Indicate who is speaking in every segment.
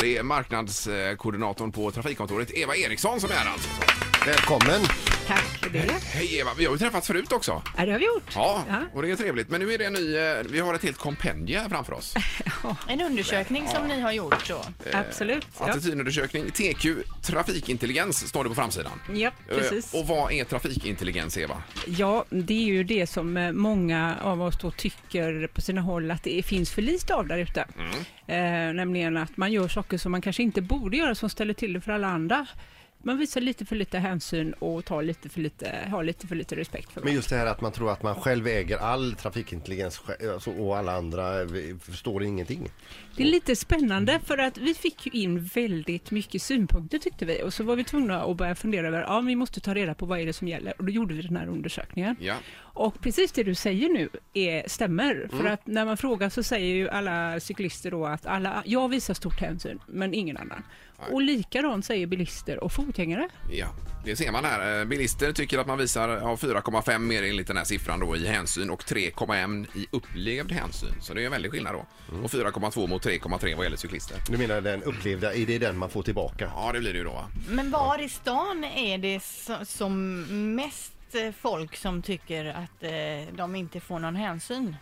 Speaker 1: Det är marknadskoordinatorn på Trafikkontoret, Eva Eriksson, som är här alltså.
Speaker 2: Välkommen!
Speaker 3: Tack för det.
Speaker 1: Hej Eva, vi har ju träffats förut också.
Speaker 3: Ja, det har vi gjort.
Speaker 1: Ja, och det är trevligt. Men nu är det en ny, eh, vi har ett helt kompendium här framför oss.
Speaker 4: En undersökning som ni har gjort då.
Speaker 3: Absolut. Ja.
Speaker 1: Attitydundersökning, TQ, trafikintelligens, står det på framsidan.
Speaker 3: ja, precis.
Speaker 1: Eh, Och vad är trafikintelligens, Eva?
Speaker 3: Ja, det är ju det som eh, många av oss då tycker på sina håll att det finns för lite av där ute. Eh, nämligen att man gör saker som man kanske inte borde göra som ställer till det för alla andra. Man visar lite för lite hänsyn och tar lite för lite, har lite för lite respekt för
Speaker 2: Men
Speaker 3: varandra.
Speaker 2: just det här att man tror att man själv äger all trafikintelligens sj- alltså, och alla andra eh, förstår ingenting.
Speaker 3: Det är lite spännande för att vi fick ju in väldigt mycket synpunkter tyckte vi och så var vi tvungna att börja fundera över, ja vi måste ta reda på vad är det som gäller och då gjorde vi den här undersökningen.
Speaker 1: Ja.
Speaker 3: Och precis det du säger nu är, stämmer. För att när man frågar så säger ju alla cyklister då att alla, jag visar stort hänsyn, men ingen annan. Och likadant säger bilister och fotgängare.
Speaker 1: Ja, det ser man här. Eh, Bilister tycker att man visar ja, 4,5 mer enligt den här siffran då i hänsyn och 3,1 i upplevd hänsyn. Så det är en väldig skillnad då. Och 4,2 mot 3,3 vad gäller cyklister.
Speaker 2: Du menar den upplevda, är det den man får tillbaka?
Speaker 1: Ja, det blir det ju då. va?
Speaker 4: Men var i stan är det so- som mest eh, folk som tycker att eh, de inte får någon hänsyn?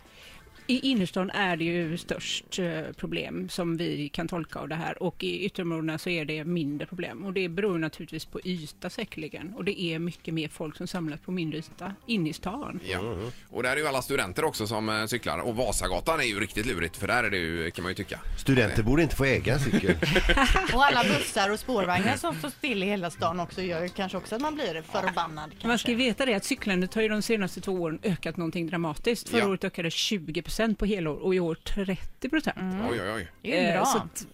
Speaker 3: I innerstan är det ju störst eh, problem som vi kan tolka av det här och i ytterområdena så är det mindre problem. Och det beror naturligtvis på yta säkerligen. Och det är mycket mer folk som samlas på mindre yta inne i stan.
Speaker 1: Ja. Och där är ju alla studenter också som eh, cyklar. Och Vasagatan är ju riktigt lurigt för där är det ju, kan man ju tycka.
Speaker 2: Studenter borde inte få äga en cykel.
Speaker 4: Och alla bussar och spårvagnar som står still i hela stan också gör ju kanske också att man blir
Speaker 3: Man
Speaker 4: förbannad.
Speaker 3: ska ju
Speaker 4: Kanske.
Speaker 3: veta det att cyklandet har ju de senaste två åren ökat någonting dramatiskt. Förra
Speaker 1: Ja.
Speaker 3: året ökade 20 procent på helår och i år 30 procent.
Speaker 1: Oj, oj, oj.
Speaker 4: Det är ju bra.
Speaker 3: eh, så att,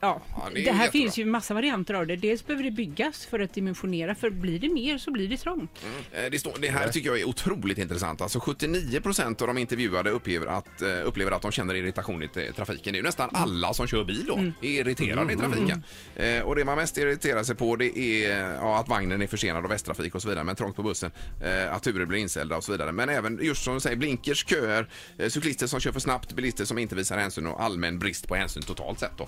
Speaker 3: ja.
Speaker 1: Mm. Ja, det är
Speaker 3: det, här
Speaker 1: jättebra.
Speaker 3: finns ju massa varianter av det. Dels behöver det byggas för att dimensionera, för blir det mer så blir det trångt.
Speaker 1: Eh, Det, står, det här tycker jag är otroligt intressant. Alltså 79 procent av de intervjuade upplever att, eh, upplever att de känner irritation i t- trafiken. Det är ju nästan alla som kör bil då, är irriterade i trafiken. Eh, Och det man mest irriterar sig på det är eh, ja, att vagnen är försenad av västtrafik och så vidare, men trångt på bussen, eh, att turer blir inställda och så vidare. Men även just som du säger, blinkers, köer, eh, cyklister som kör för snabbt, bilister som inte visar hänsyn och allmän brist på hänsyn totalt sett då.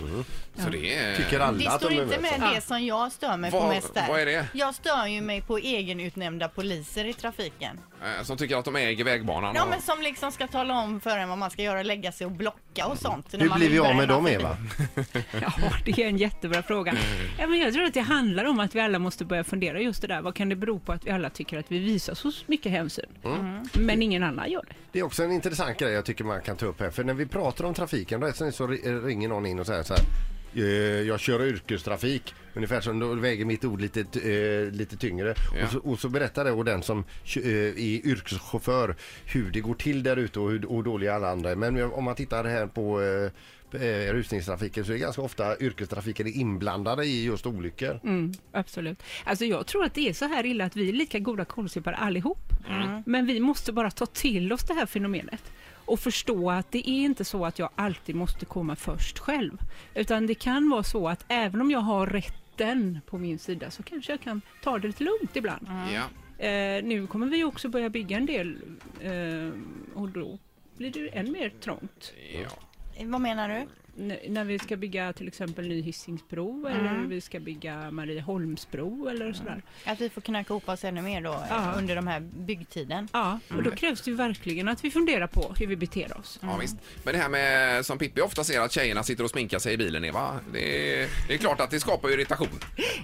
Speaker 1: Så det är...
Speaker 2: Tycker alla
Speaker 4: Det
Speaker 2: att de
Speaker 4: står
Speaker 2: är
Speaker 4: inte
Speaker 2: överens.
Speaker 4: med det som jag stör mig på
Speaker 1: Vad-
Speaker 4: mest där.
Speaker 1: vad är det?
Speaker 4: Jag stör ju mig på egenutnämnda poliser i trafiken.
Speaker 1: eh, Som tycker att de äger vägbanan.
Speaker 4: Ja
Speaker 1: och-
Speaker 4: men som liksom ska tala om för en vad man ska göra, lägga sig och blocka och sånt. när
Speaker 2: Hur
Speaker 4: man
Speaker 2: blir vi
Speaker 4: vill
Speaker 2: av med
Speaker 4: bränna
Speaker 2: dem
Speaker 4: förbi.
Speaker 2: Eva?
Speaker 1: Mm.
Speaker 3: Ja, det är en jättebra fråga. Ja, men jag tror att det handlar om att vi alla måste börja fundera just det där. Vad kan det bero på att vi alla tycker att vi visar så mycket hänsyn?
Speaker 1: Mm.
Speaker 3: Mm. Men ingen annan gör det.
Speaker 2: Det är också en intressant grej jag tycker man kan ta upp här. För när vi pratar om trafiken, rätt som det är så ri- ringer någon in och säger så här. "Eh, Jag kör yrkestrafik, ungefär som då väger mitt ord lite, t- eh, lite tyngre.
Speaker 1: Ja.
Speaker 2: Och, så, och så berättar det och den som kö- eh, är yrkeschaufför hur det går till där ute och hur och hur dåliga alla andra är. Men om man tittar här på eh, eh, rusningstrafiken så är det ganska ofta yrkestrafiken är inblandade i just olyckor.
Speaker 3: Mm, absolut. Alltså jag tror att det är så här illa att vi är lika goda kålsupare allihop.
Speaker 4: Mm.
Speaker 1: Mm.
Speaker 3: Men vi måste bara ta till oss det här fenomenet och förstå att det är inte så att jag alltid måste komma först själv. Utan det kan vara så att även om jag har rätten på min sida så kanske jag kan ta det lite lugnt ibland.
Speaker 1: Ja.
Speaker 3: Eh, nu kommer vi också börja bygga en del eh, och då blir det än mer trångt.
Speaker 1: Ja.
Speaker 4: Mm. Vad menar du?
Speaker 3: N- när vi ska bygga till exempel ny Hisingsbro eller vi ska bygga Marieholmsbro eller sådär.
Speaker 4: Att vi får knacka ihop oss ännu mer då eh,
Speaker 3: Ja.
Speaker 4: under den här byggtiden.
Speaker 3: Ja, och då krävs det ju verkligen att vi funderar på hur vi beter oss.
Speaker 1: Ja, visst. Men det här med som Pippi ofta ser att tjejerna sitter och sminkar sig i bilen, Eva. Det är, det är klart att det skapar ju irritation.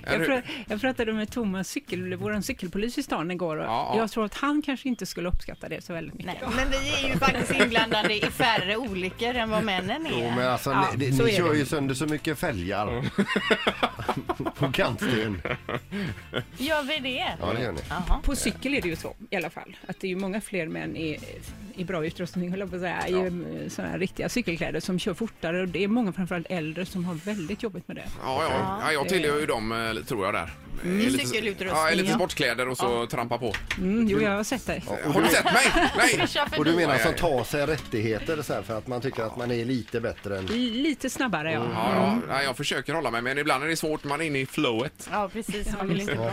Speaker 3: Jag,
Speaker 1: Eller hur?
Speaker 3: pra- jag pratade med Thomas, cykel, vår cykelpolis i stan, igår och
Speaker 1: Ja, ja.
Speaker 3: jag tror att han kanske inte skulle uppskatta det så väldigt mycket.
Speaker 4: Nej, men vi är ju faktiskt inblandade i färre olyckor än vad männen
Speaker 2: Jo,
Speaker 4: är.
Speaker 2: men alltså,
Speaker 3: Ja,
Speaker 2: ni,
Speaker 3: så
Speaker 2: ni
Speaker 3: är
Speaker 2: kör
Speaker 3: det. Mm.
Speaker 2: ju sönder så mycket fälgar på kantsten.
Speaker 4: Gör vi det?
Speaker 2: Ja, det gör ni.
Speaker 4: Jaha.
Speaker 3: På cykel är det ju så i alla fall, att det är ju många fler män i, i bra utrustning, höll jag på att säga,
Speaker 1: Ja.
Speaker 3: i eh, såna här riktiga cykelkläder som kör fortare och det är många framförallt äldre som har väldigt jobbigt med det.
Speaker 1: Ja, ja. ja, jag tillhör ju dem, eh, tror jag, där. Mm.
Speaker 4: Cykelutrustning,
Speaker 1: ja, lite
Speaker 4: ja.
Speaker 1: sportkläder och så trampa på.
Speaker 3: Mm, jo, jag har sett det.
Speaker 1: Har du sett mig? Nej!
Speaker 4: Vi kör förbi.
Speaker 2: Och du menar
Speaker 1: Ja, ja,
Speaker 2: som
Speaker 1: ja.
Speaker 2: tar sig rättigheter så här för att man tycker att man är lite bättre än...
Speaker 3: Lite snabbare, ja.
Speaker 1: Ja, ja. Nej, jag försöker hålla mig, men ibland är det svårt. Man är inne i flowet.
Speaker 4: Ja, precis. Man vill inte